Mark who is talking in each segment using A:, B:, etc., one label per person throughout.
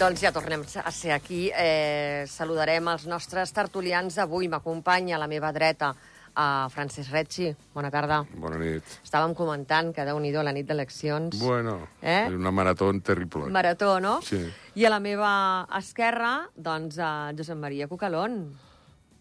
A: Doncs ja tornem a ser aquí. Eh, saludarem els nostres tertulians d'avui. M'acompanya a la meva dreta a Francesc Retxi. Bona tarda.
B: Bona nit.
A: Estàvem comentant que, déu nhi la nit d'eleccions...
B: Bueno,
A: Eh?
B: eh? és una marató terrible.
A: Marató, no?
B: Sí.
A: I a la meva esquerra, doncs, a Josep Maria Cucalón.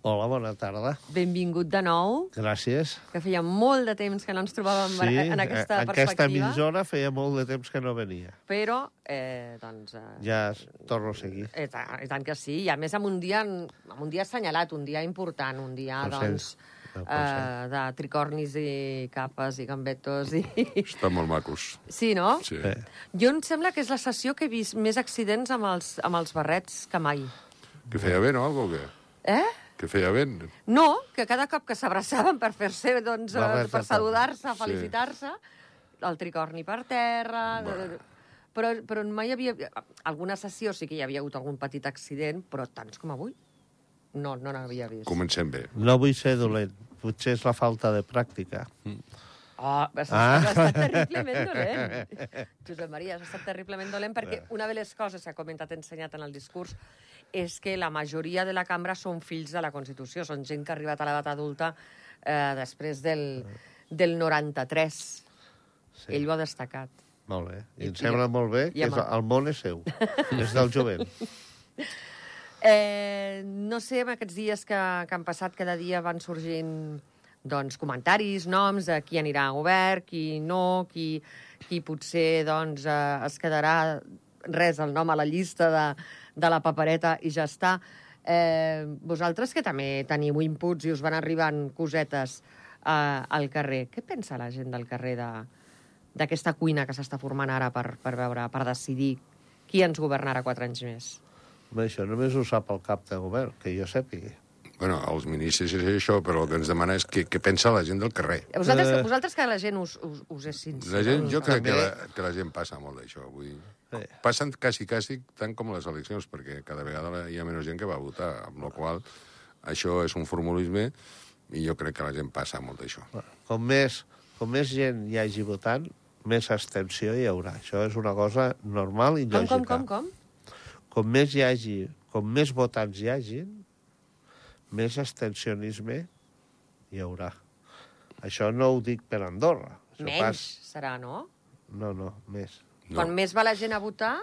C: Hola, bona tarda.
A: Benvingut de nou,
C: Gràcies.
A: que feia molt de temps que no ens trobàvem en aquesta
C: eh, en aquesta
A: perspectiva.
C: emissora feia molt de temps que no venia.
A: Però, eh, doncs... Eh,
C: Ja es- torno a seguir.
A: I tant, I tant que sí, i a més amb un dia, amb un dia assenyalat, un dia important, un dia,
C: Consens.
A: doncs, eh,
C: El consens.
A: de tricornis i capes i gambetos i...
B: Estan molt macos.
A: Sí, no?
B: Sí.
C: Eh,
A: Jo em sembla que és la sessió que he vist més accidents amb els, amb els barrets que mai.
B: Que feia vent o alguna cosa?
A: Eh?
B: Que feia vent.
A: No, que cada cop que s'abraçaven per fer-se, doncs, eh, per
C: Barret de terra.
A: saludar-se,
B: Sí.
A: felicitar-se, el tricorni per terra...
B: Bé.
A: Però, però mai hi havia... Alguna sessió sí que hi havia hagut algun petit accident, però tants com avui no, no n'havia vist.
B: Comencem bé.
C: No vull ser dolent. Potser és la falta de pràctica.
A: Oh, has, ah.
C: Ah.
A: has estat terriblement dolent. Josep Maria, has estat terriblement dolent perquè una de les coses que com t'ha ensenyat en el discurs és que la majoria de la cambra són fills de la Constitució, són gent que ha arribat a l'edat adulta eh, després del, del 93. Sí. Ell ho ha destacat.
C: Molt bé. I,
A: I-
C: em sembla molt bé
A: i
C: que és,
A: amb-
C: el món és seu. és del jovent.
A: Eh, no sé, en aquests dies que, que han passat, cada dia van sorgint doncs, comentaris, noms, de qui anirà a govern, qui no, qui, qui potser doncs, eh, es quedarà res, el nom a la llista de, de la papereta i ja està. Eh, vosaltres, que també teniu inputs i us van arribant cosetes eh, al carrer, què pensa la gent del carrer de d'aquesta cuina que s'està formant ara per, per veure, per decidir qui ens governarà quatre anys més?
C: Home, això només ho sap el cap de govern, que jo sàpiga.
B: Bueno, els ministres és això, però el que ens demana és què, què pensa la gent del carrer.
A: Vosaltres,
C: Eh.
A: vosaltres que la gent us, us, us és sincera.
B: La gent, jo crec que
C: També.
B: la, que la gent passa molt d'això. Vull... dir,
C: Sí.
B: Passen quasi, quasi tant com les eleccions, perquè cada vegada la- hi ha menys gent que va a votar, amb la qual cosa, això és un formulisme i jo crec que la gent passa molt d'això.
C: Com més, com més gent hi hagi votant, més abstenció hi haurà. Això és una cosa normal i
A: Com,
C: lògica.
A: com, com, com?
C: com més hi hagi, com més votants hi hagin, més abstencionisme hi haurà. Això no ho dic per Andorra. Això
A: Menys serà, no?
C: No, no, més.
A: no? Quan més va la gent a votar...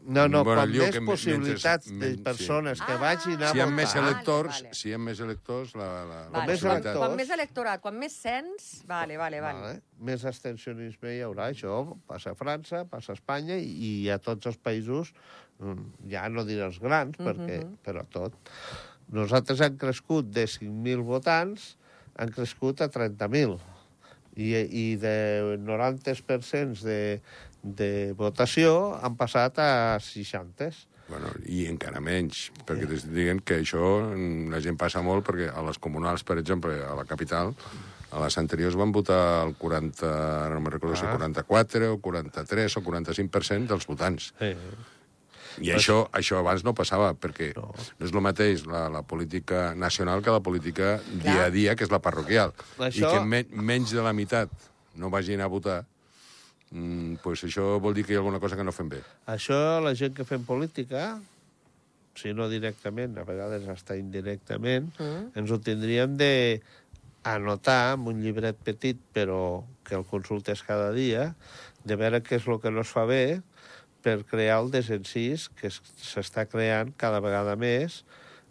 C: No, no,
B: Bueno,
C: bueno, com
B: diu
C: més
B: que men-
C: possibilitats
B: mentre-
C: de
B: men-
C: persones
A: sí.
C: que vagin a
B: Si hi ha
C: votar...
B: més electors,
A: vale.
B: si hi ha més electors, la, la, la
C: més
A: quan,
B: possibilitat...
C: electors.
A: quan més electorat, quan més cens... Vale, vale, vale.
C: Vale. Més abstencionisme hi haurà, això passa a França, passa a Espanya i, i a tots els països, mm, ja no diré els grans, mm -hmm. perquè, però tot. Nosaltres hem crescut de 5.000 votants, han crescut a 30.000. I, I de 90% de, de votació han passat a 60.
B: Bueno, I encara menys, perquè t'estic dient que això mm, la gent passa molt, perquè a les comunals, per exemple, a la capital, a les anteriors van votar el 40, no me'n recordo ah. si
C: Ah.
B: 44 o 43 o 45% dels votants.
C: Eh,
B: I això, això abans no passava, perquè no, no és el mateix la, la política nacional que la política dia a dia, que és la parroquial.
C: Això-
B: I que men menys de la meitat no vagin a votar, mm, pues això vol dir que hi ha alguna cosa que no fem bé.
C: Això, la gent que fem política, si no directament, a vegades hasta indirectament, mm. ens ho tindríem de anotar amb un llibret petit, però que el consultes cada dia, de veure què és el que no es fa bé per crear el desencís que es- s'està creant cada vegada més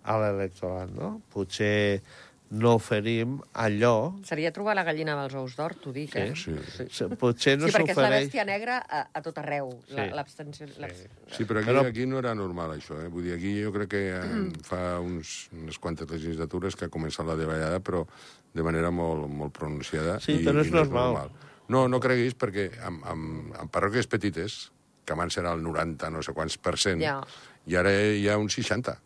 C: a l'electorat, no? Potser no oferim allò...
A: Seria trobar la gallina amb els ous d'or, t'ho dic, eh?
B: Sí.
C: se- Potser no
A: sí perquè és la
C: s'ofereix...
A: bèstia negra a, a tot arreu, la-
C: Sí.
A: l'abstenció... Sí.
B: Sí, però aquí,
C: Però- Mm.
B: aquí no era normal, això. Eh? Vull dir, aquí jo crec que eh, fa uns, unes quantes legislatures que ha començat la davallada, però de manera molt, molt pronunciada.
C: Sí, però és
B: no
C: normal.
B: No, no creguis, perquè amb, amb, amb parròquies petites, que abans era el 90, no sé quants per cent,
A: Ja.
B: i ara hi ha un 60.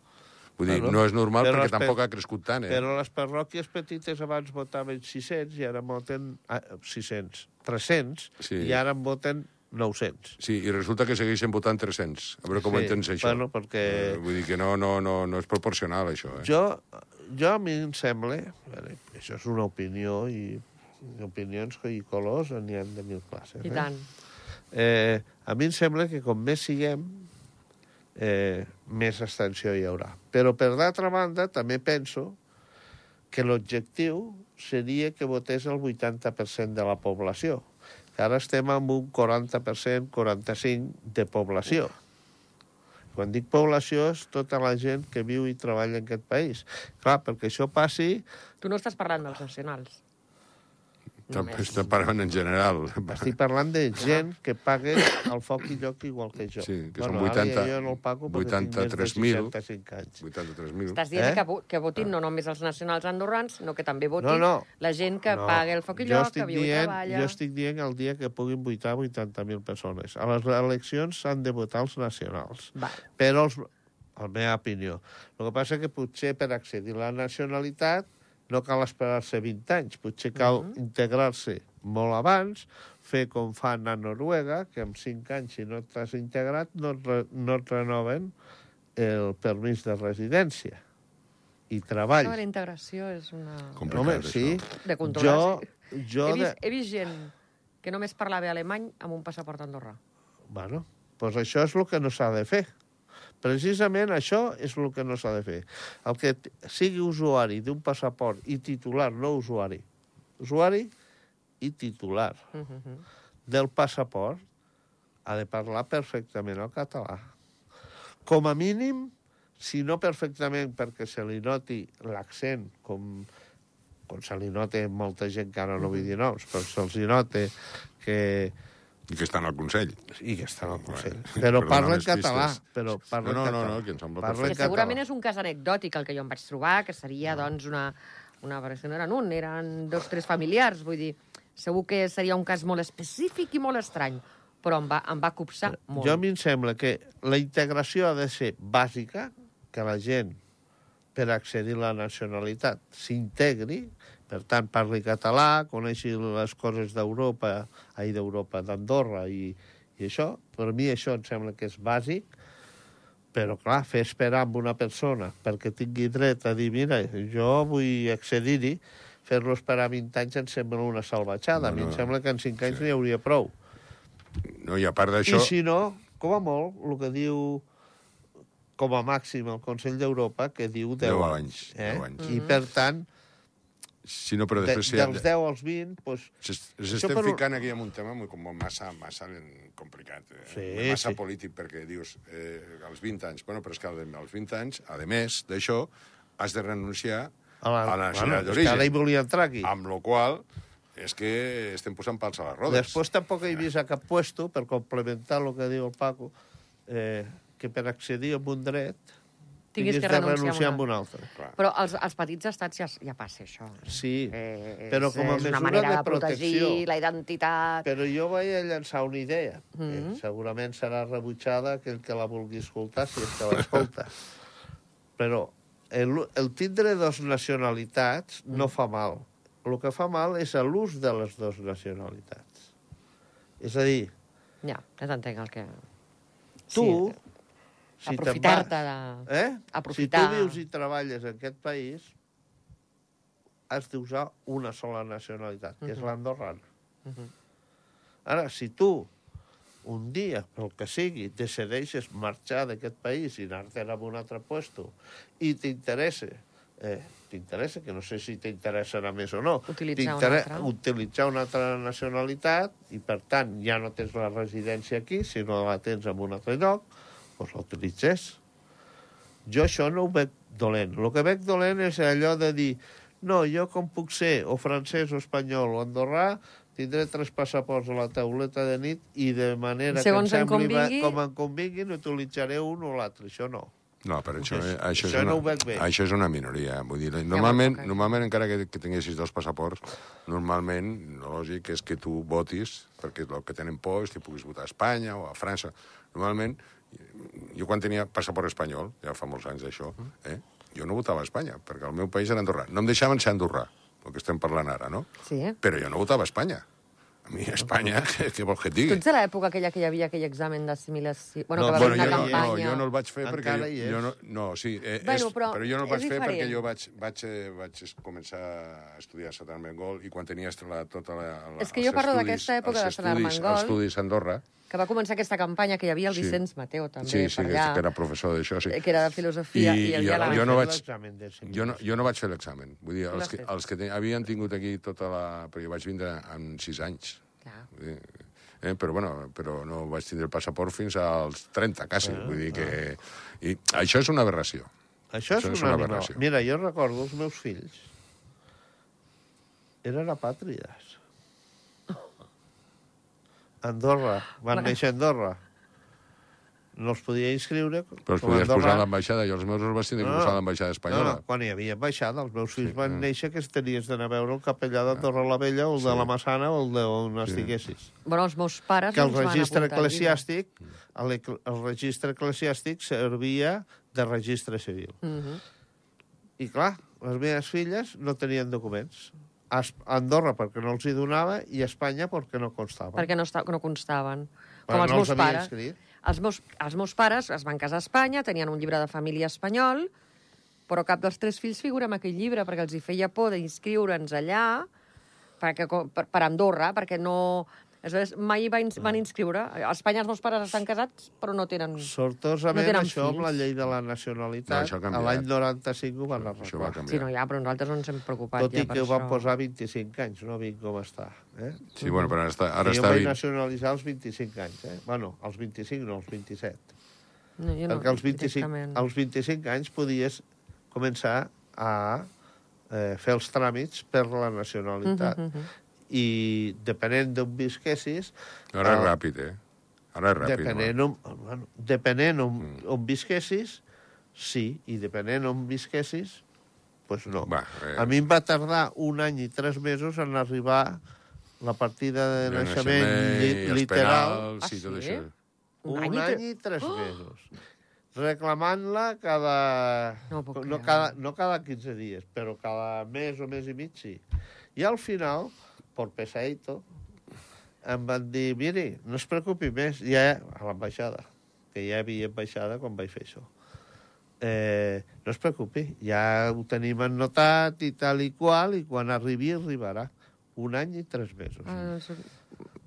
B: Vull dir,
C: Claro.
B: no és normal
C: Però
B: perquè
C: espe-
B: tampoc ha crescut tant, eh?
C: Però les parròquies petites abans votaven 600 i ara en voten ah, 600, 300
B: Sí.
C: sí. i ara en voten 900.
B: Sí, i resulta que segueixen votant 300. A veure com
C: Sí,
B: ho entens, això.
C: bueno, perquè-
B: Eh, vull dir que no, no, no, no és proporcional, això, eh?
C: Jo, jo a mi em sembla, bueno, això és una opinió i i opinions i colors n'hi han de mil classes.
A: I tant.
C: Eh? Eh, a mi em sembla que com més siguem, eh, més extensió hi haurà. Però, per d'altra banda, també penso que l'objectiu seria que votés el 80% de la població, que ara estem amb un 40%, 45% de població. Quan dic població és tota la gent que viu i treballa en aquest país. Clar, perquè això passi,
A: Tu no estàs parlant dels nacionals.
B: També està parlant en general.
C: estic parlant de gent que paga el foc i lloc igual que jo.
B: Sí, que són
C: ara ja
B: 80
C: jo no el pago perquè tinc més de
B: 83.000.
C: 65 anys.
B: 83.000.
A: Estàs dient
C: Eh?
A: eh? que, vo- que votin no només els nacionals andorrans, sinó que també votin
C: No, no.
A: la gent que
C: No,
A: paga el foc i
C: jo
A: lloc,
C: estic
A: que viu i
C: dient,
A: treballa...
C: Jo estic dient el dia que puguin votar 80.000 persones. A les eleccions s'han de votar els nacionals.
A: Va.
C: Però, els, a la meva opinió, el que passa que potser per accedir a la nacionalitat no cal esperar-se 20 anys. Potser cal integrar-se molt abans, fer com fan a Noruega, que amb 5 anys, si no t'has integrat, no et, re, no et renoven el permís de residència i treball.
A: Això de la integració és una...
B: Complicat,
C: Home, sí.
B: això.
A: De controlar,
C: Jo, jo
A: he,
C: de...
A: vist, he vist gent que només parlava alemany amb un passaport andorrà.
C: Bueno, doncs això és el que no s'ha de fer. Precisament això és el que no s'ha de fer. El que t- sigui usuari d'un passaport i titular, no usuari, usuari i titular del passaport ha de parlar perfectament el català. Com a mínim, si no perfectament perquè se li noti l'accent, com, com se li nota a molta gent, que ara no vull dir noms, però se'ls hi nota que,
B: I que està en el Consell.
C: i que està al Consell.
B: Bueno,
C: Però
B: perdona
C: parla en
B: les
C: català.
B: pistes.
C: Però
B: No,
C: parla
B: no,
C: en
B: no,
C: català.
B: no, que em sembla
C: parla
B: perfecte.
A: Que
C: en
A: segurament
C: català.
A: és un cas anecdòtic el que jo em vaig trobar, que
C: Ah.
A: seria, doncs, una, una variació. No eren un, eren dos, tres familiars. Vull dir, segur que seria un cas molt específic i molt estrany, però em va, em va copsar molt.
C: Jo a mi em sembla que la integració ha de ser bàsica, que la gent, per accedir a la nacionalitat, s'integri, per tant, parli català, coneixi les coses d'Europa, ai, d'Europa, d'Andorra i, i això. Per mi això em sembla que és bàsic, però, clar, fer esperar amb una persona perquè tingui dret a dir, mira, jo vull accedir-hi, fer-lo esperar 20 anys em sembla una salvatjada. No, no. A mi em sembla que en 5 anys sí. n'hi hauria prou.
B: No, i a part d'això...
C: I si no, com a molt, el que diu com a màxim el Consell d'Europa, que diu 10,
B: Deu anys,
C: Eh?
B: deu anys.
C: I, per tant,
B: Si no, però
C: de,
B: després...
C: dels 10 als 20, doncs, Això
B: S'estem
C: per un-
B: ficant aquí en un tema molt, com massa, massa complicat, eh?
C: Sí,
B: massa
C: sí.
B: polític, perquè dius, eh, als 20 anys, bueno, però és que als 20 anys, a més d'això, has de renunciar a la, a la
C: bueno,
B: nacionalitat
C: és que ara hi
B: d'origen.
C: volia entrar aquí.
B: Amb la qual cosa, és que estem posant pals a les rodes.
C: Després tampoc he vist a cap puesto, per complementar el que diu el Paco, eh, que per accedir a un dret
A: Tinguis
C: tinguis
A: que
C: de
A: renunciar a
C: renunciar a
A: una-
C: un altre.
A: Però als, als petits estats ja, ja passa això.
C: Sí,
A: Eh,
C: però
A: és,
C: com
A: és
C: a
A: una
C: mesura
A: manera
C: de
A: de protegir
C: protecció.
A: la identitat...
C: Però jo vaig a llançar una idea, mm -hmm.
A: Mm-hmm.
C: que segurament serà rebutjada aquell que la vulgui escoltar, si és que l'escolta. Però el, el tindre dos nacionalitats
A: Mm.
C: no fa mal. El que fa mal és l'ús de les dues nacionalitats. És a dir,
A: Ja, ja t'entenc el que...
C: tu...
A: Sí,
C: si te'n
A: Aprofitar-te
C: vas-
A: de...
C: Eh?
A: aprofitar-
C: Si tu vius i treballes en aquest país, has d'usar una sola nacionalitat, que és l'andorrana. Ara, si tu un dia, pel que sigui, decideixes marxar d'aquest país i anar-te'n a un altre lloc i t'interessa, eh, t'interessa, que no sé si t'interessarà més o no,
A: Utilitzar una
C: t'intere-
A: altra.
C: utilitzar una altra nacionalitat i, per tant, ja no tens la residència aquí, sinó la tens en un altre lloc, doncs l'utilitzes. Jo això no ho veig dolent. El que veig dolent és allò de dir no, jo com puc ser o francès o espanyol o andorrà, tindré tres passaports a la tauleta de nit i de manera
A: Segons
C: que
A: em
C: em sembli va-
A: convingui-
C: com em convingui n'utilitzaré un o l'altre. Això no.
B: No, però això, eh, això,
C: Això
B: és,
C: no ho
B: una,
C: veig bé.
B: això és una minoria. eh? Vull dir, normalment,
A: poca.
B: normalment encara que, que tinguessis dos passaports, normalment, lo lògic és que tu votis, perquè el que tenen por és que puguis votar a Espanya o a França. Normalment, jo quan tenia passaport espanyol, ja fa molts anys d'això,
C: Mm.
B: eh, jo no votava a Espanya, perquè el meu país era Andorra. No em deixaven ser Andorrà, el que estem parlant ara, no?
A: Sí, eh?
B: Però jo no votava a Espanya. A mi a Espanya, què, què vol que et
A: Tu
B: digui?
A: ets de l'època aquella que hi havia aquell examen d'assimilació... Bueno,
C: No,
A: no, que va haver
C: bueno,
A: una
B: jo,
A: campanya...
B: no, jo no el vaig fer perquè...
C: Encara hi
B: Jo,
C: és.
B: jo no, no, sí, eh,
A: Bueno,
B: és,
A: però
B: però, jo no
A: és
B: el vaig fer
A: diferent.
B: perquè jo vaig, vaig, eh, vaig es- començar a estudiar a Sant Armengol i quan tenies la, tota la, la...
A: És que
B: els
A: jo parlo
B: estudis-
A: d'aquesta època
B: els
A: de Sant
B: estudis-
A: Armengol.
B: Els estudis a Andorra,
A: Que va començar aquesta campanya que hi havia el
B: Sí.
A: Vicenç Mateu, també,
B: sí, sí,
A: per
B: que,
A: allà,
B: que era professor d'això, sí.
A: eh, que era de filosofia, i,
B: I-
A: i,
B: i
A: i ja la...
B: jo
A: Jo
B: no
A: no...
B: vaig-
C: l'examen de
B: Jo no, jo no vaig fer l'examen. Vull dir,
A: Tu l'has
B: els que,
A: fet.
B: els que ten... havien tingut aquí tota la... Perquè vaig vindre amb sis anys. Vull dir, Eh, però, bueno, però no vaig tindre el passaport fins als 30, quasi.
C: Ah,
B: Vull dir que... I això és una aberració.
C: Això és,
B: Això és una
C: una, una
B: aberració.
C: Mira, jo recordo els meus fills. Eren apàtrides. Andorra. Van néixer a Andorra. No els podia inscriure.
B: Però els
C: com a
B: podies posar a
C: Andorra.
B: l'ambaixada. Jo els meus els vaig tindre
C: No,
B: no.
C: no.
B: posar a l'ambaixada espanyola. eh.
C: No, no, quan hi havia ambaixada, els meus fills van néixer que es tenies d'anar a veure el capellà
B: Ah.
C: d'Andorra la Vella o el de la Massana o el d'on estiguessis.
A: Bueno, els meus pares...
C: Que el
A: ens van
C: registre
A: apuntar al llibre.
C: eclesiàstic, el, ec- el registre eclesiàstic servia de registre civil.
A: Mhm.
C: I clar, les meves filles no tenien documents. A Es- a Andorra perquè no els hi donava i a Espanya perquè no constava.
A: perquè no, esta, no constaven. Com
C: Perquè
A: els
C: no
A: meus
C: els havia
A: pares.
C: escrit.
A: Els meus, els meus pares es van casar a Espanya, tenien un llibre de família espanyol, però cap dels tres fills figura en aquell llibre, perquè els hi feia por d'inscriure'ns allà perquè, co- per, per Andorra, perquè no... Aleshores, mai va
C: Ah.
A: ins, van inscriure. A Espanya els meus pares estan casats, però no tenen...
C: Sortosament,
A: No tenen
C: això amb la
A: fills.
C: llei de la
B: No,
C: nacionalitat,
B: això ha
C: a
B: canviat.
C: l'any 95 ho van arreglar.
B: Això va canviar.
A: Sí, no, ja, però nosaltres no ens hem preocupat
C: Tot
A: ja
C: i
A: per
C: que ho van
A: això.
C: posar a 25 anys, no vinc com està. Eh?
B: Sí, bueno, però ara està,
C: Ara
B: ara
C: jo
B: està
C: em
B: 20.
C: vaig nacionalitzar als 25 anys. Eh? Bueno, als 25, no, als 27.
A: No, jo no,
C: Perquè als 25,
A: directament.
C: als 25 anys podies començar a eh, fer els tràmits per la nacionalitat. Mm -hmm. I depenent d'on visquessis...
B: Ara
C: eh,
B: és ràpid, eh? Ara és ràpid.
C: Depenent
B: bueno.
C: on, bueno, depenent on, mm. on visquessis, sí, i depenent on visquessis, doncs no.
B: Va, eh.
C: A mi em va tardar un any i tres mesos en arribar la partida de,
B: De
C: naixement,
B: i
C: naixement
B: els
C: literal.
B: Penals,
A: Ah,
B: i tot
A: sí?
B: això.
C: Un
A: Un any i tre- Ah!
C: any i tres mesos. Reclamant-la cada...
A: No ho puc
C: no,
A: creure.
C: cada, no cada 15 dies, però cada mes o mes i mig sí. I al final, por pesadito, em van dir, miri, no es preocupi més, ja a l'ambaixada, que ja hi havia ambaixada quan vaig fer això. Eh, no es preocupi, ja ho tenim anotat i tal i qual, i quan arribi arribarà. Un any i tres mesos.
A: Ah, no sé.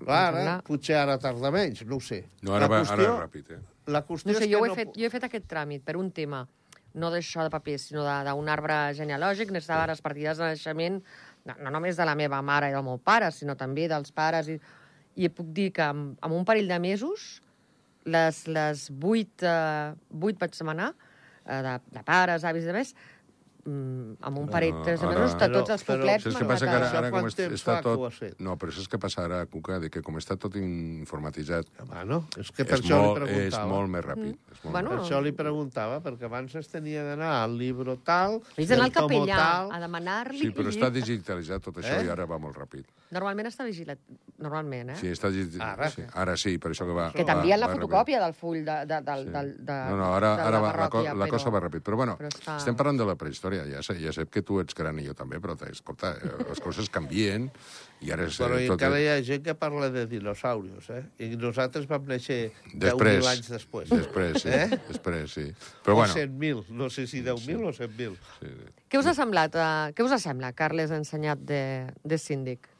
C: Clar, ara,
A: Sembla-
C: potser ara tarda menys, no ho sé.
B: No, ara,
C: La
B: va, ara
C: qüestió-
B: és ràpid, eh?
C: la qüestió
A: No sé,
C: és
A: jo,
C: que
A: ho he fet, jo he fet aquest tràmit per un tema, no d'això de paper, sinó de- d'un arbre genealògic. Necessitava les partides de naixement, no, no només de la meva mare i del meu pare, sinó també dels pares. I, i puc dir que en, en un parell de mesos, les, les vuit, eh, vuit vaig demanar, eh, de, de pares, avis i de més, mm, amb un parell,
B: No,
A: tres de
B: Ah, ara-
A: mesos, de
C: Però-
A: tots els
C: però-
A: poblets...
B: Saps
A: m'han
B: què passa? Que ara,
A: arribat a-
C: Això
B: ara
C: quant
B: com est-
C: temps
B: està
C: fa que ho has
B: tot...
C: fet?
B: No, però saps què passa ara, Cuca? De que com està tot informatitzat,
C: Home, no? És que per
B: és
C: això
B: molt,
C: li
B: és
C: preguntava.
B: molt més ràpid. És molt
A: Mm. Bueno,
C: Per això li preguntava, perquè abans es tenia d'anar al libro tal...
A: Havies d'anar al
C: del tomo
A: capellà
C: tal.
A: a
B: més...
A: demanar-li...
B: Sí, però està
A: i-
B: digitalitzat tot això
C: Eh?
B: i ara va molt ràpid.
A: Normalment està vigilat... Normalment, eh?
B: Sí, està digitalitzat.
C: Ara?
B: Sí. Ara sí, per això que va...
A: Que
B: va-
A: t'envien la
B: va ràpid.
A: fotocòpia del full de, de, del,
B: Sí.
A: del, de,
B: No, no, ara,
A: de
B: ara va, la, co
A: parròquia,
B: la cosa va ràpid. Però bueno,
A: però
B: però
A: està-
B: està... estem parlant de la prehistòria. Ja sé, ja sé que tu ets gran i jo també, però escolta, eh, les coses canvien i ara és... eh,
C: Però
B: tot...
C: encara hi ha gent que parla de dinosaures, eh? I nosaltres vam néixer 10.000
B: Després.
C: anys després.
B: Després, sí. Eh? Després, sí.
C: O
B: Però bueno,
C: 100.000, no sé si 10.000 o 100.000.
A: Què us ha semblat, uh, què us sembla, Carles, ensenyat de, de síndic?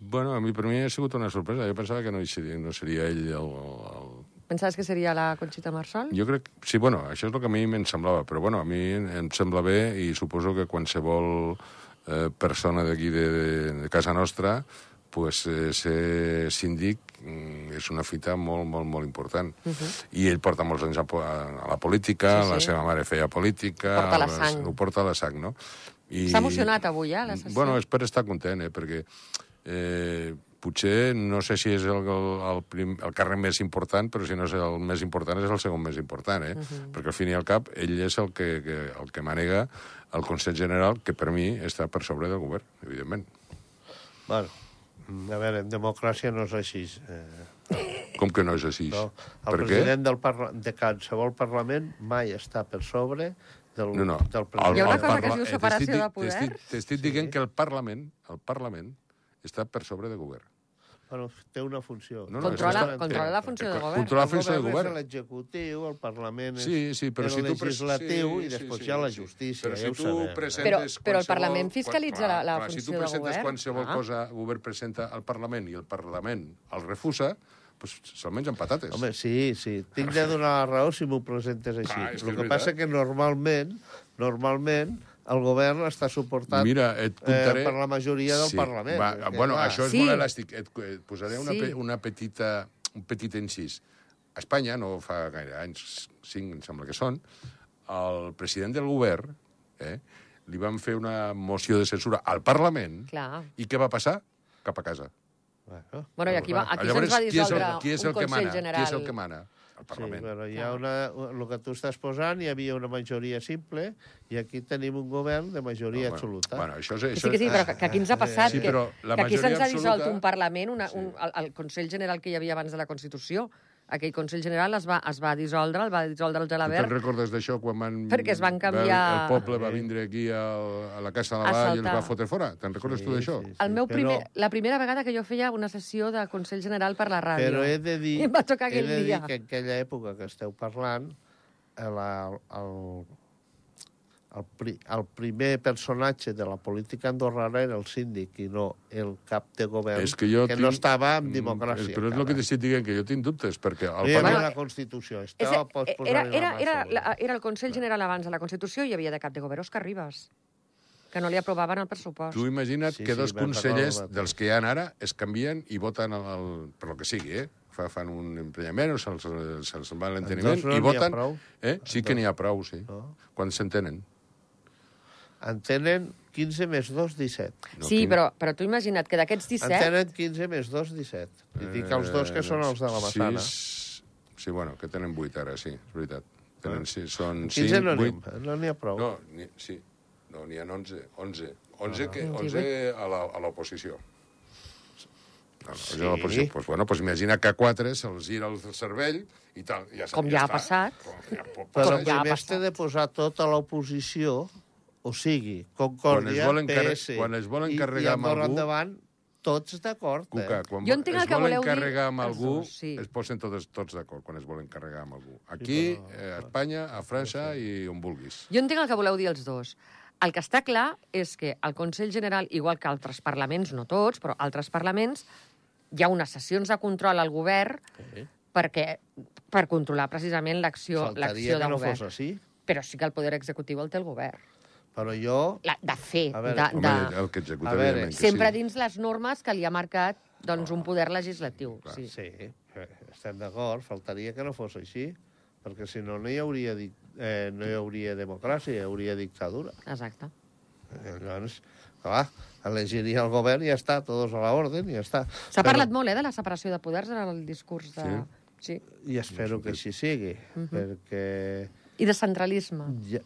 B: bueno, a mi per mi ha sigut una sorpresa. Jo pensava que no, hi seria, no seria ell el, el,
A: Pensaves que seria la Conxita Marsol?
B: Jo crec... Sí, bueno, això és el que a mi em semblava, però bueno, a mi em sembla bé i suposo que qualsevol eh, persona d'aquí de, de, de casa nostra pues, eh, ser síndic mm, és una fita molt, molt, molt important. Uh -huh. I ell porta molts anys a, po- a a la política,
A: Mhm. Sí,
B: sí, sí. la
A: sí.
B: seva mare feia política...
A: Porta la
B: les-
A: sang.
B: Ho porta a la sang, no? I-
A: S'ha emocionat avui, eh, la sessió?
B: Bueno, és per estar content, eh, perquè eh, potser no sé si és el, el, el, prim, el carrer més important, però si no és el més important, és el segon més important, eh? Uh
A: Mhm.
B: -huh. Perquè al fin i al cap, ell és el que, que, el que manega el Consell General, que per mi està per sobre del govern, evidentment.
C: Bueno, mm, a veure, en democràcia no és així. Eh,
B: Com que no és així?
C: no? El
B: per
C: president del parla... de qualsevol Parlament mai està per sobre del,
B: què? No, no.
C: del president.
A: Hi ha una
B: el
A: cosa que
B: parla-
A: es diu
B: eh,
A: separació
B: t'estic-
A: de poders?
B: T'estic t'estic dient que el Parlament, el Parlament està per sobre del govern.
C: Bueno, té una funció.
B: No, no,
A: Controla,
B: és que-
A: controla la funció del
B: Eh,
A: govern.
B: Controlar la funció del
C: el
B: govern.
C: és l'executiu, el Parlament és
B: Sí, sí, però
C: el
B: si tu... pres-
C: legislatiu
B: sí,
C: i
B: sí,
C: després
B: sí,
C: hi ha la
B: sí.
C: justícia,
B: Però si
C: ja ho
B: tu
C: sabem. eh?
B: presentes
A: Però- però el
B: qualsevol-
A: Parlament fiscalitza
B: quan-
A: la- la
B: clar,
A: funció del
B: Si tu presentes
A: govern.
B: qualsevol
A: Ah.
B: cosa, el govern presenta al Parlament i el Parlament el refusa, doncs se'l mengen patates.
C: Home, sí, sí. Tinc de donar la raó si m'ho presentes així.
B: Clar, és que
C: el
B: és veritat.
C: que passa que normalment, normalment, el govern està suportat
B: Mira, et contaré...
C: eh, per la majoria del Parlament.
B: Va, ah,
C: És que,
B: bueno,
C: clar,
B: això és
A: Sí.
B: molt elàstic. Et, et posaré una,
A: Sí.
B: pe, una petita, un petit incís. A Espanya, no fa gaire anys, cinc em sembla que són, el president del govern eh, li van fer una moció de censura al Parlament
A: Clar.
B: i què va passar? Cap a casa.
C: Bueno,
A: Bueno, i aquí, va, aquí
B: Llavors,
A: se'ns va
B: qui és el-
A: dissoldre
B: qui és
A: un
B: el que
A: Consell
B: mana?
A: General.
B: Qui és el que mana? El
C: sí,
B: Parlament.
C: però hi ha
A: Clar.
C: una, el que tu estàs posant, hi havia una majoria simple, i aquí tenim un govern de majoria
B: Bueno,
C: absoluta.
B: Bueno, això és...
A: Que
B: Això Eh,
A: sí, que sí, però que, que aquí ens ha passat
B: Sí,
A: que,
B: però la
A: que aquí
B: majoria
A: se'ns ha dissolt
B: absoluta-
A: un Parlament, una, un, el, el Consell General que hi havia abans de la Constitució. Aquell Consell General es va, es va dissoldre, el va dissoldre el
B: Tu te'n
A: Gelabert.
B: recordes d'això quan van...
A: Perquè es van
B: va-
A: canviar-
B: El poble va vindre aquí al, a la Casa de la
A: A
B: Vall i els
A: saltar.
B: va fotre fora. Te'n recordes tu d'això?
A: El meu
C: però-
A: primer, la primera vegada que jo feia una sessió de Consell General per la ràdio.
C: Però he de
A: I
C: dir...
A: em va tocar
C: he
A: aquell
C: de dir
A: dia.
C: que en aquella època que esteu parlant, eh, la, el, el, pri, el primer personatge de la política andorrana era el síndic i no el cap de govern,
B: És que jo
C: que
B: tinc-
C: no estava en
B: Mm,
C: democràcia.
B: Però és el
C: encara.
B: que t'estic dient, que jo tinc dubtes, perquè el
C: No hi havia
A: Bueno,
B: Parlament...
C: la Constitució.
A: És,
C: Estava, pots
A: era,
C: posar-hi la
A: era,
C: mà
A: era,
C: sobre.
A: la, era el Consell General abans de la Constitució i hi havia de cap de govern Òscar Ribas, que no li aprovaven el pressupost.
B: Tu imagina't
C: Sí,
B: que
C: sí,
B: dos
C: me'n
B: consellers
C: recordo,
B: dels que hi ha ara es canvien i voten el, el, per lo que sigui, eh? Fa, fan un emprenyament o se'ls se se va l'enteniment
C: dos no
B: i
C: n'hi ha
B: voten...
C: prou.
B: Eh? Sí que n'hi ha prou, sí.
C: No.
B: Quan s'entenen.
C: En tenen 15 més 2, 17.
B: No,
A: sí,
B: quin-
A: però, però tu imagina't que d'aquests
C: En
A: 17...
C: tenen 15 més 2, 17. I dic els dos que són els de la Massana.
B: Eh, Sis... Sí, bueno, que tenen vuit ara, sí, és veritat. Tenen, sis, són
C: 15
B: cinc,
C: Ah. no n'hi
B: vuit...
C: ha, eh, no n'hi ha prou.
B: No, ni, sí. No, n'hi ha 11. 11. 11, que,
A: 28.
B: 11 a la- a l'oposició. No, no,
C: Sí.
B: sí. Ah, L'oposició. Pues, bueno, pues imagina que a 4 se'ls gira el cervell i tal. Ja,
A: Com ja ha passat.
B: Com ja pot
A: Com
C: Però
B: passar.
A: ja ha
C: primer
A: passat.
C: s'ha de posar tota l'oposició, o sigui,
B: Quan es
C: Concòrdia,
B: volen carre-
C: PS...
B: quan es volen
C: i-
B: carregar
C: I
B: amb
C: Andorra
B: algú-
C: endavant, tots d'acord, eh?
B: Cuca, quan
A: Jo entenc
B: es
A: el que
B: volen
A: voleu dir
B: carregar amb
A: els
B: algú,
A: dos, sí.
B: es posen tots, tots d'acord quan es volen carregar amb algú. Aquí, eh, a Espanya, a França i on vulguis.
A: Jo entenc el que voleu dir els dos. El que està clar és que el Consell General, igual que altres parlaments, no tots, però altres parlaments, hi ha unes sessions de control al govern perquè, per controlar precisament l'acció l'acció
C: Faltaria
A: de
C: que no fos
A: govern.
C: així.
A: Però sí que el poder executiu el té el govern.
C: Però jo...
A: La, de fer,
C: A veure,
A: de,
B: Home,
A: de,
B: el que executa,
C: A veure,
B: evidentment, que
A: sempre
B: sí.
A: dins les normes que li ha marcat doncs, un poder legislatiu. Sí.
C: Sí, eh, estem d'acord, faltaria que no fos així, perquè si no, no hi hauria, dic- eh, no hi hauria democràcia, hi hauria dictadura.
A: Exacte.
C: Eh, Llavors, clar, elegiria el govern i ja està, tots a l'ordre i ja està.
A: S'ha
C: Però-
A: parlat molt, eh, de la separació de poders en el discurs de... Sí.
C: I espero que així sigui,
A: Mhm.
C: perquè...
A: I de centralisme.
C: Ja,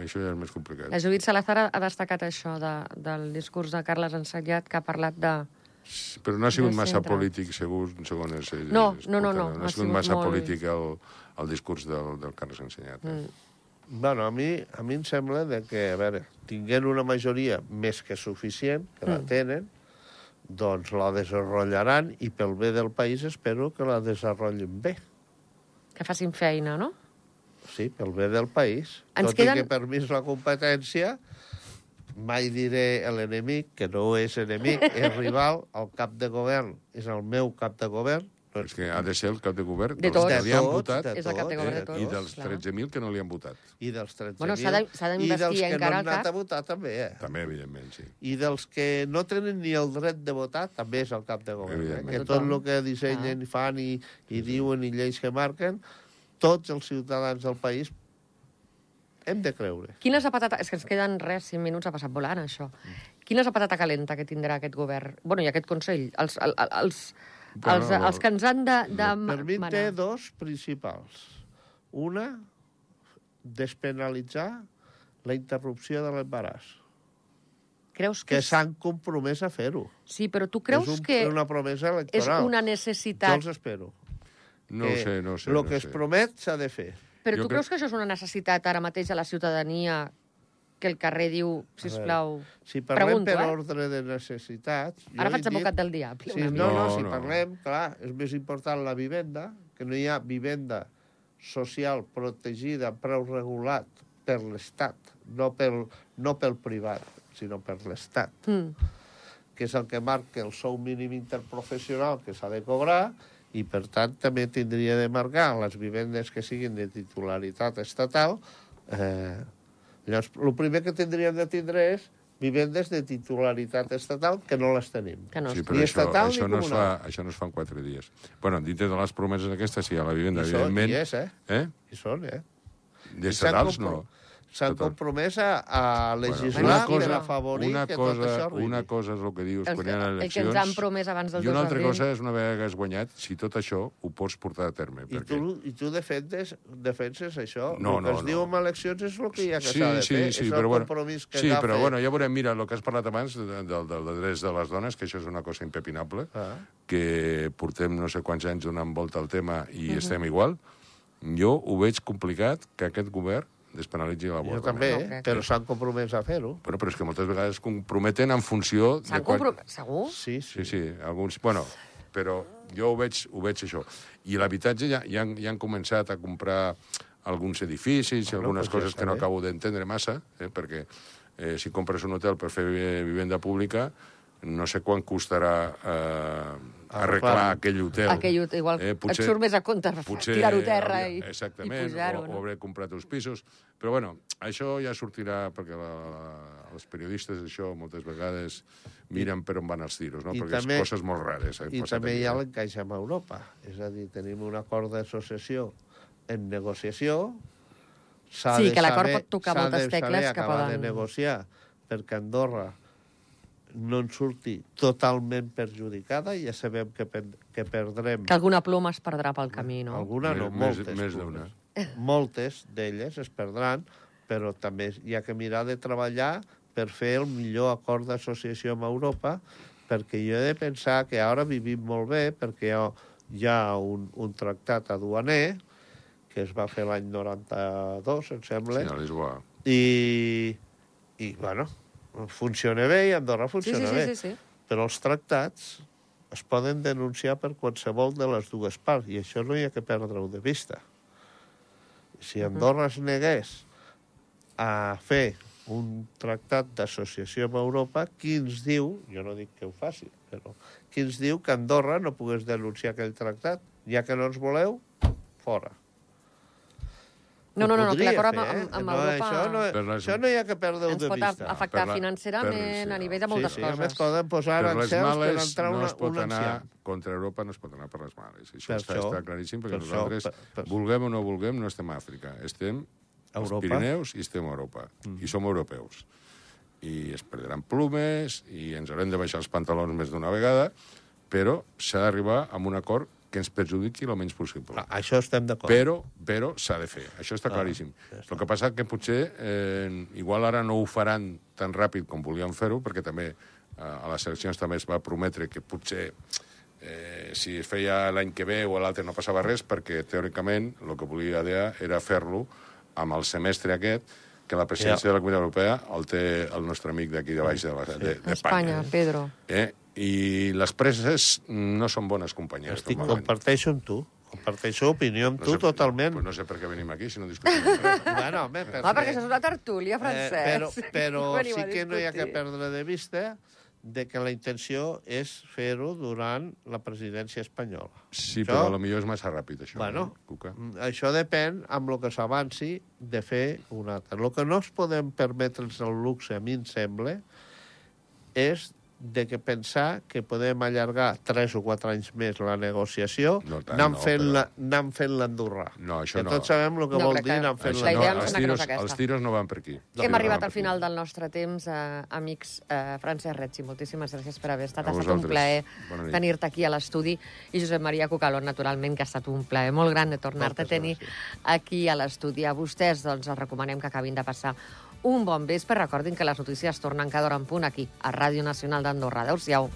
B: Això ja és més complicat.
A: La Judit Salazar ha ha destacat això de, del discurs de Carles Ensenyat, que ha parlat de...
B: Però no ha sigut
A: de
B: massa
A: centre.
B: polític, segur, segons... eh,
A: No,
B: es
A: no, no,
B: porta,
A: no,
B: No ha sigut massa
A: molt-
B: polític el, el discurs del, del Carles Ensenyat. Eh?
C: bueno, a mi, a mi em sembla de que, a veure, tinguent una majoria més que suficient, que
A: Mm.
C: la tenen, doncs la desenrotllaran i pel bé del país espero que la desenrotllin bé.
A: que facin feina, no?
C: Sí, pel bé del país.
A: Ens
C: Tot
A: queden-
C: i que per mi és la competència, mai diré l'enemic, que no és enemic, és rival, el cap de govern és el meu cap de govern, no
B: És que ha de ser el cap de govern
A: De
B: dels
A: tots.
B: que li han
C: De tots,
B: votat
C: Mm. de
A: És el cap de govern de
B: eh,
A: tots.
B: i dels
A: clar.
B: 13.000 que no li han votat.
C: i dels 13.000.
A: Bueno, s'ha de- s'ha d'investir
C: I dels que
A: encara
C: no
A: el
C: han anat
A: cap.
C: a votar, també, eh?
B: També, evidentment, sí.
C: I dels que no tenen ni el dret de votar, també és el cap de govern. Eh?
B: Evidentment.
C: Que tot el que dissenyen i fan i, i diuen i lleis que marquen, tots els ciutadans del país hem de creure.
A: Quina és la patata... És que ens queden res, 5 minuts, ha passat volant, això. Quina és la patata calenta que tindrà aquest govern? bueno, i aquest Consell? Els, el, el- els,
B: Bueno,
A: els, els que ens han de, de ma-
C: Per mi
A: manar.
C: té dos principals. Una, despenalitzar la interrupció de l'embaràs,
A: Creus que...
C: que s'han compromès a fer-ho.
A: Sí, però tu creus
C: és un,
A: que
C: una promesa
A: és
C: electoral.
A: una
C: Jo
A: necessitat...
C: els espero.
B: No ho sé, no ho sé.
C: El
B: no
C: que
B: ho
C: es
B: sé.
C: promet s'ha de fer.
A: Però
B: Jo
A: tu
B: crec-
A: creus que això és una necessitat ara mateix a la ciutadania que el carrer diu, si us plau...
C: Si parlem
A: Pregunto,
C: per
A: eh?
C: ordre de necessitats... jo
A: Ara
C: he
A: faig advocat del diable.
C: Sí,
A: una
C: no, no,
B: No,
C: si
B: no.
C: parlem, clar, és més important la vivenda, que no hi ha vivenda social protegida, preu regulat per l'Estat, no, pel, no pel privat, sinó per l'Estat,
A: mica. Mm.
C: que és el que marca el sou mínim interprofessional que s'ha de cobrar i, per tant, també tindria de marcar les vivendes que siguin de titularitat estatal. Eh, llavors, el primer que tindríem de tindre és vivendes de titularitat estatal que no les tenim.
A: Que no
B: Sí,
A: es-
B: però
C: Ni
B: això,
C: estatal ni
B: això, no es fa,
C: comunal.
B: això no es fa en quatre dies. bueno, dintre de les promeses aquestes, sí, a la vivenda,
C: I són,
B: evidentment...
C: i és, eh?
B: eh?
C: Hi són, eh?
B: De
C: I s'han
B: sedals,
C: compro-
B: no.
C: S'han
B: Total.
C: compromès a, a legislar
A: una
C: bueno, cosa, per
A: cosa-
C: afavorir
B: una
C: que
B: cosa,
C: tot això arribi.
B: Una cosa és el que dius
A: El,
B: quan hi ha
A: el, el que
B: eleccions...
A: ens han promès abans del
B: I una altra
A: 2020.
B: cosa és una vegada que has guanyat, si tot això ho pots portar a terme.
C: I tu, I tu defendes, defenses això?
B: No,
C: el que
B: no,
C: es
B: no.
C: diu amb eleccions és el que hi ha que
B: Sí,
C: s'ha de
B: sí,
C: fer.
B: sí,
C: és
B: però
C: el
B: bueno,
C: compromís que
B: sí,
C: agafa-
B: però bueno, ja veurem, mira, el que has parlat abans de, de, de, de drets de les dones, que això és una cosa impepinable,
C: Ah.
B: que portem no sé quants anys donant volta al tema i estem igual, jo ho veig complicat que aquest govern despenalitzi
C: Jo
B: l'avortament.
C: també,
A: No
C: eh?
A: crec.
C: però s'han compromès a fer-ho.
B: Bueno, però és que moltes vegades comprometen en funció... de
A: S'han
B: quan-
A: compromès... Segur?
C: Sí, sí.
B: Sí, sí, alguns... Bueno, però jo ho veig, ho veig això. I l'habitatge ja, ja, han, ja han començat a comprar alguns edificis, bueno, algunes
C: doncs ja
B: coses
C: està
B: que no
C: bé.
B: acabo d'entendre massa, eh, perquè eh, si compres un hotel per fer vi- vivenda pública, no sé quan costarà eh, arreglar
C: Arreglar.
B: aquell hotel.
A: Aquell, igual, eh, potser, et surt més a compte
B: potser
A: tirar-ho a terra i,
B: hauria-
A: i
B: exactament,
A: pujar-ho.
B: o,
A: No?
B: o hauré comprat uns pisos. Però bueno, això ja sortirà, perquè la, la, els periodistes això moltes vegades miren per on van els tiros, no?
C: I
B: perquè
C: també-
B: és coses molt rares. Eh,
C: I
B: passat
C: també
B: aquí,
C: hi ha
B: eh?
C: l'encaix amb Europa. És a dir, tenim un acord d'associació en negociació. S'ha
A: Sí,
C: de
A: que l'acord
C: saber-
A: pot tocar
C: s'ha
A: moltes
C: de saber
A: tecles que
C: acabar
A: poden-
C: de negociar perquè Andorra no en surti totalment perjudicada, ja sabem que, pen, que perdrem
A: Que alguna ploma es perdrà pel camí, no?
C: alguna, no,
B: Més-
C: moltes.
B: més
C: plomes.
B: d'una.
C: Moltes d'elles es perdran, però també hi ha que mirar de treballar per fer el millor acord d'associació amb Europa, perquè jo he de pensar que ara vivim molt bé, perquè hi ha, hi ha un, un tractat aduaner, que es va fer l'any 92, em sembla,
B: Sí, a Lisboa.
C: i, i, bueno, funciona bé i Andorra
A: Sí, sí,
C: funciona
A: sí,
C: bé
A: sí, sí.
C: però els tractats es poden denunciar per qualsevol de les dues parts, i això no hi ha que perdre-ho de vista. Si
A: Mhm.
C: Andorra es negués a fer un tractat d'associació amb Europa, qui ens diu, jo no dic que ho faci, però qui ens diu que Andorra no pogués denunciar aquell tractat, ja que no ens voleu, fora.
A: No, no, no,
C: Ho
A: no que
C: podria
A: l'acord amb,
C: fer, eh?
A: amb, amb
C: no,
A: Europa
C: Això no,
B: Per les-
C: això no hi ha que perdre-ho
A: ens
C: de
A: pot
C: vista.
A: afectar
B: Per la- per
A: financerament
B: la-
A: a nivell de
C: Sí,
A: moltes
C: sí, a més
A: coses.
C: poden posar
B: per les
C: aranzels per
B: males
C: entrar
B: no
C: una,
B: es pot
C: un
B: anar...
C: ancià.
B: Contra Europa no es pot anar per les males. Això
C: Per
B: està,
C: això,
B: està claríssim, perquè
C: per això,
B: nosaltres,
C: per- per-
B: vulguem o no vulguem, no estem a Àfrica. Estem
C: A
B: als
C: Europa. Mm-hmm.
B: Pirineus i estem a Europa. I som europeus. I es perdran plumes, i ens haurem de baixar els pantalons més d'una vegada, però s'ha d'arribar amb un acord que ens perjudiqui el menys possible.
C: Ah, Això estem d'acord.
B: Però, però s'ha de fer, això
C: Ah,
B: està claríssim. El que passa que potser, eh, igual ara no ho faran tan ràpid com volien fer-ho, perquè també eh, a les eleccions també es va prometre que potser eh, si es feia l'any que ve o l'altre no passava res, perquè teòricament el que volia DEA era fer-lo amb el semestre aquest, que la presidència
C: Ja.
B: de la Comunitat Europea el té el nostre amic d'aquí de baix, de, la, de, de
A: Espanya,
B: Espanya.
A: Pedro.
B: Eh? I les preses no són bones companyeres.
C: Estic,
B: normalment.
C: comparteixo amb tu. Comparteixo opinió amb tu
B: sé-
C: totalment.
B: Pues no sé per què venim aquí, si no discutim res.
C: Bueno, home,
A: Ah, perquè això és una tertúlia, Francesc.
C: Eh, però, però
A: Aquí
C: sí
A: venim a
C: que no hi ha que
A: discutir.
C: perdre de vista de que la intenció és fer-ho durant la presidència espanyola.
B: Sí,
C: Això-
B: però a lo millor és massa ràpid, això.
C: Bueno,
B: eh, Cuca?
C: mm, això depèn amb el que s'avanci de fer un altre. El que no es podem permetre'ns el luxe, a mi em sembla, és de que pensar que podem allargar 3 o 4 anys més la negociació
B: No tant,
C: anant
B: no,
C: fent
B: però-
C: la- anant fent l'andurra.
B: No, això
C: que
B: no.
C: tots sabem el que
A: No,
C: vol
A: crec
C: dir
A: que
C: anant fent
A: la idea
C: l'andurra.
B: no,
A: és
B: els,
A: una
B: tiros,
A: cosa aquesta.
B: els tiros no van per aquí. Els tiros
C: Doncs
A: Hem
B: no
A: arribat
B: van
A: al
B: per
A: final del nostre temps, eh, amics. Eh, Francesc Retzi, moltíssimes gràcies per haver estat.
B: A
A: Ha estat un
B: vosaltres.
A: plaer
B: Bona nit.
A: tenir-te aquí a l'estudi. I Josep Maria Cucalón, naturalment, que ha estat un plaer molt gran de tornar-te a
C: Moltes
A: tenir aquí a l'estudi. A vostès, doncs, els recomanem que acabin de passar un bon vespre. Recordin que les notícies tornen cada hora en punt aquí, a Ràdio Nacional d'Andorra. Adéu-siau.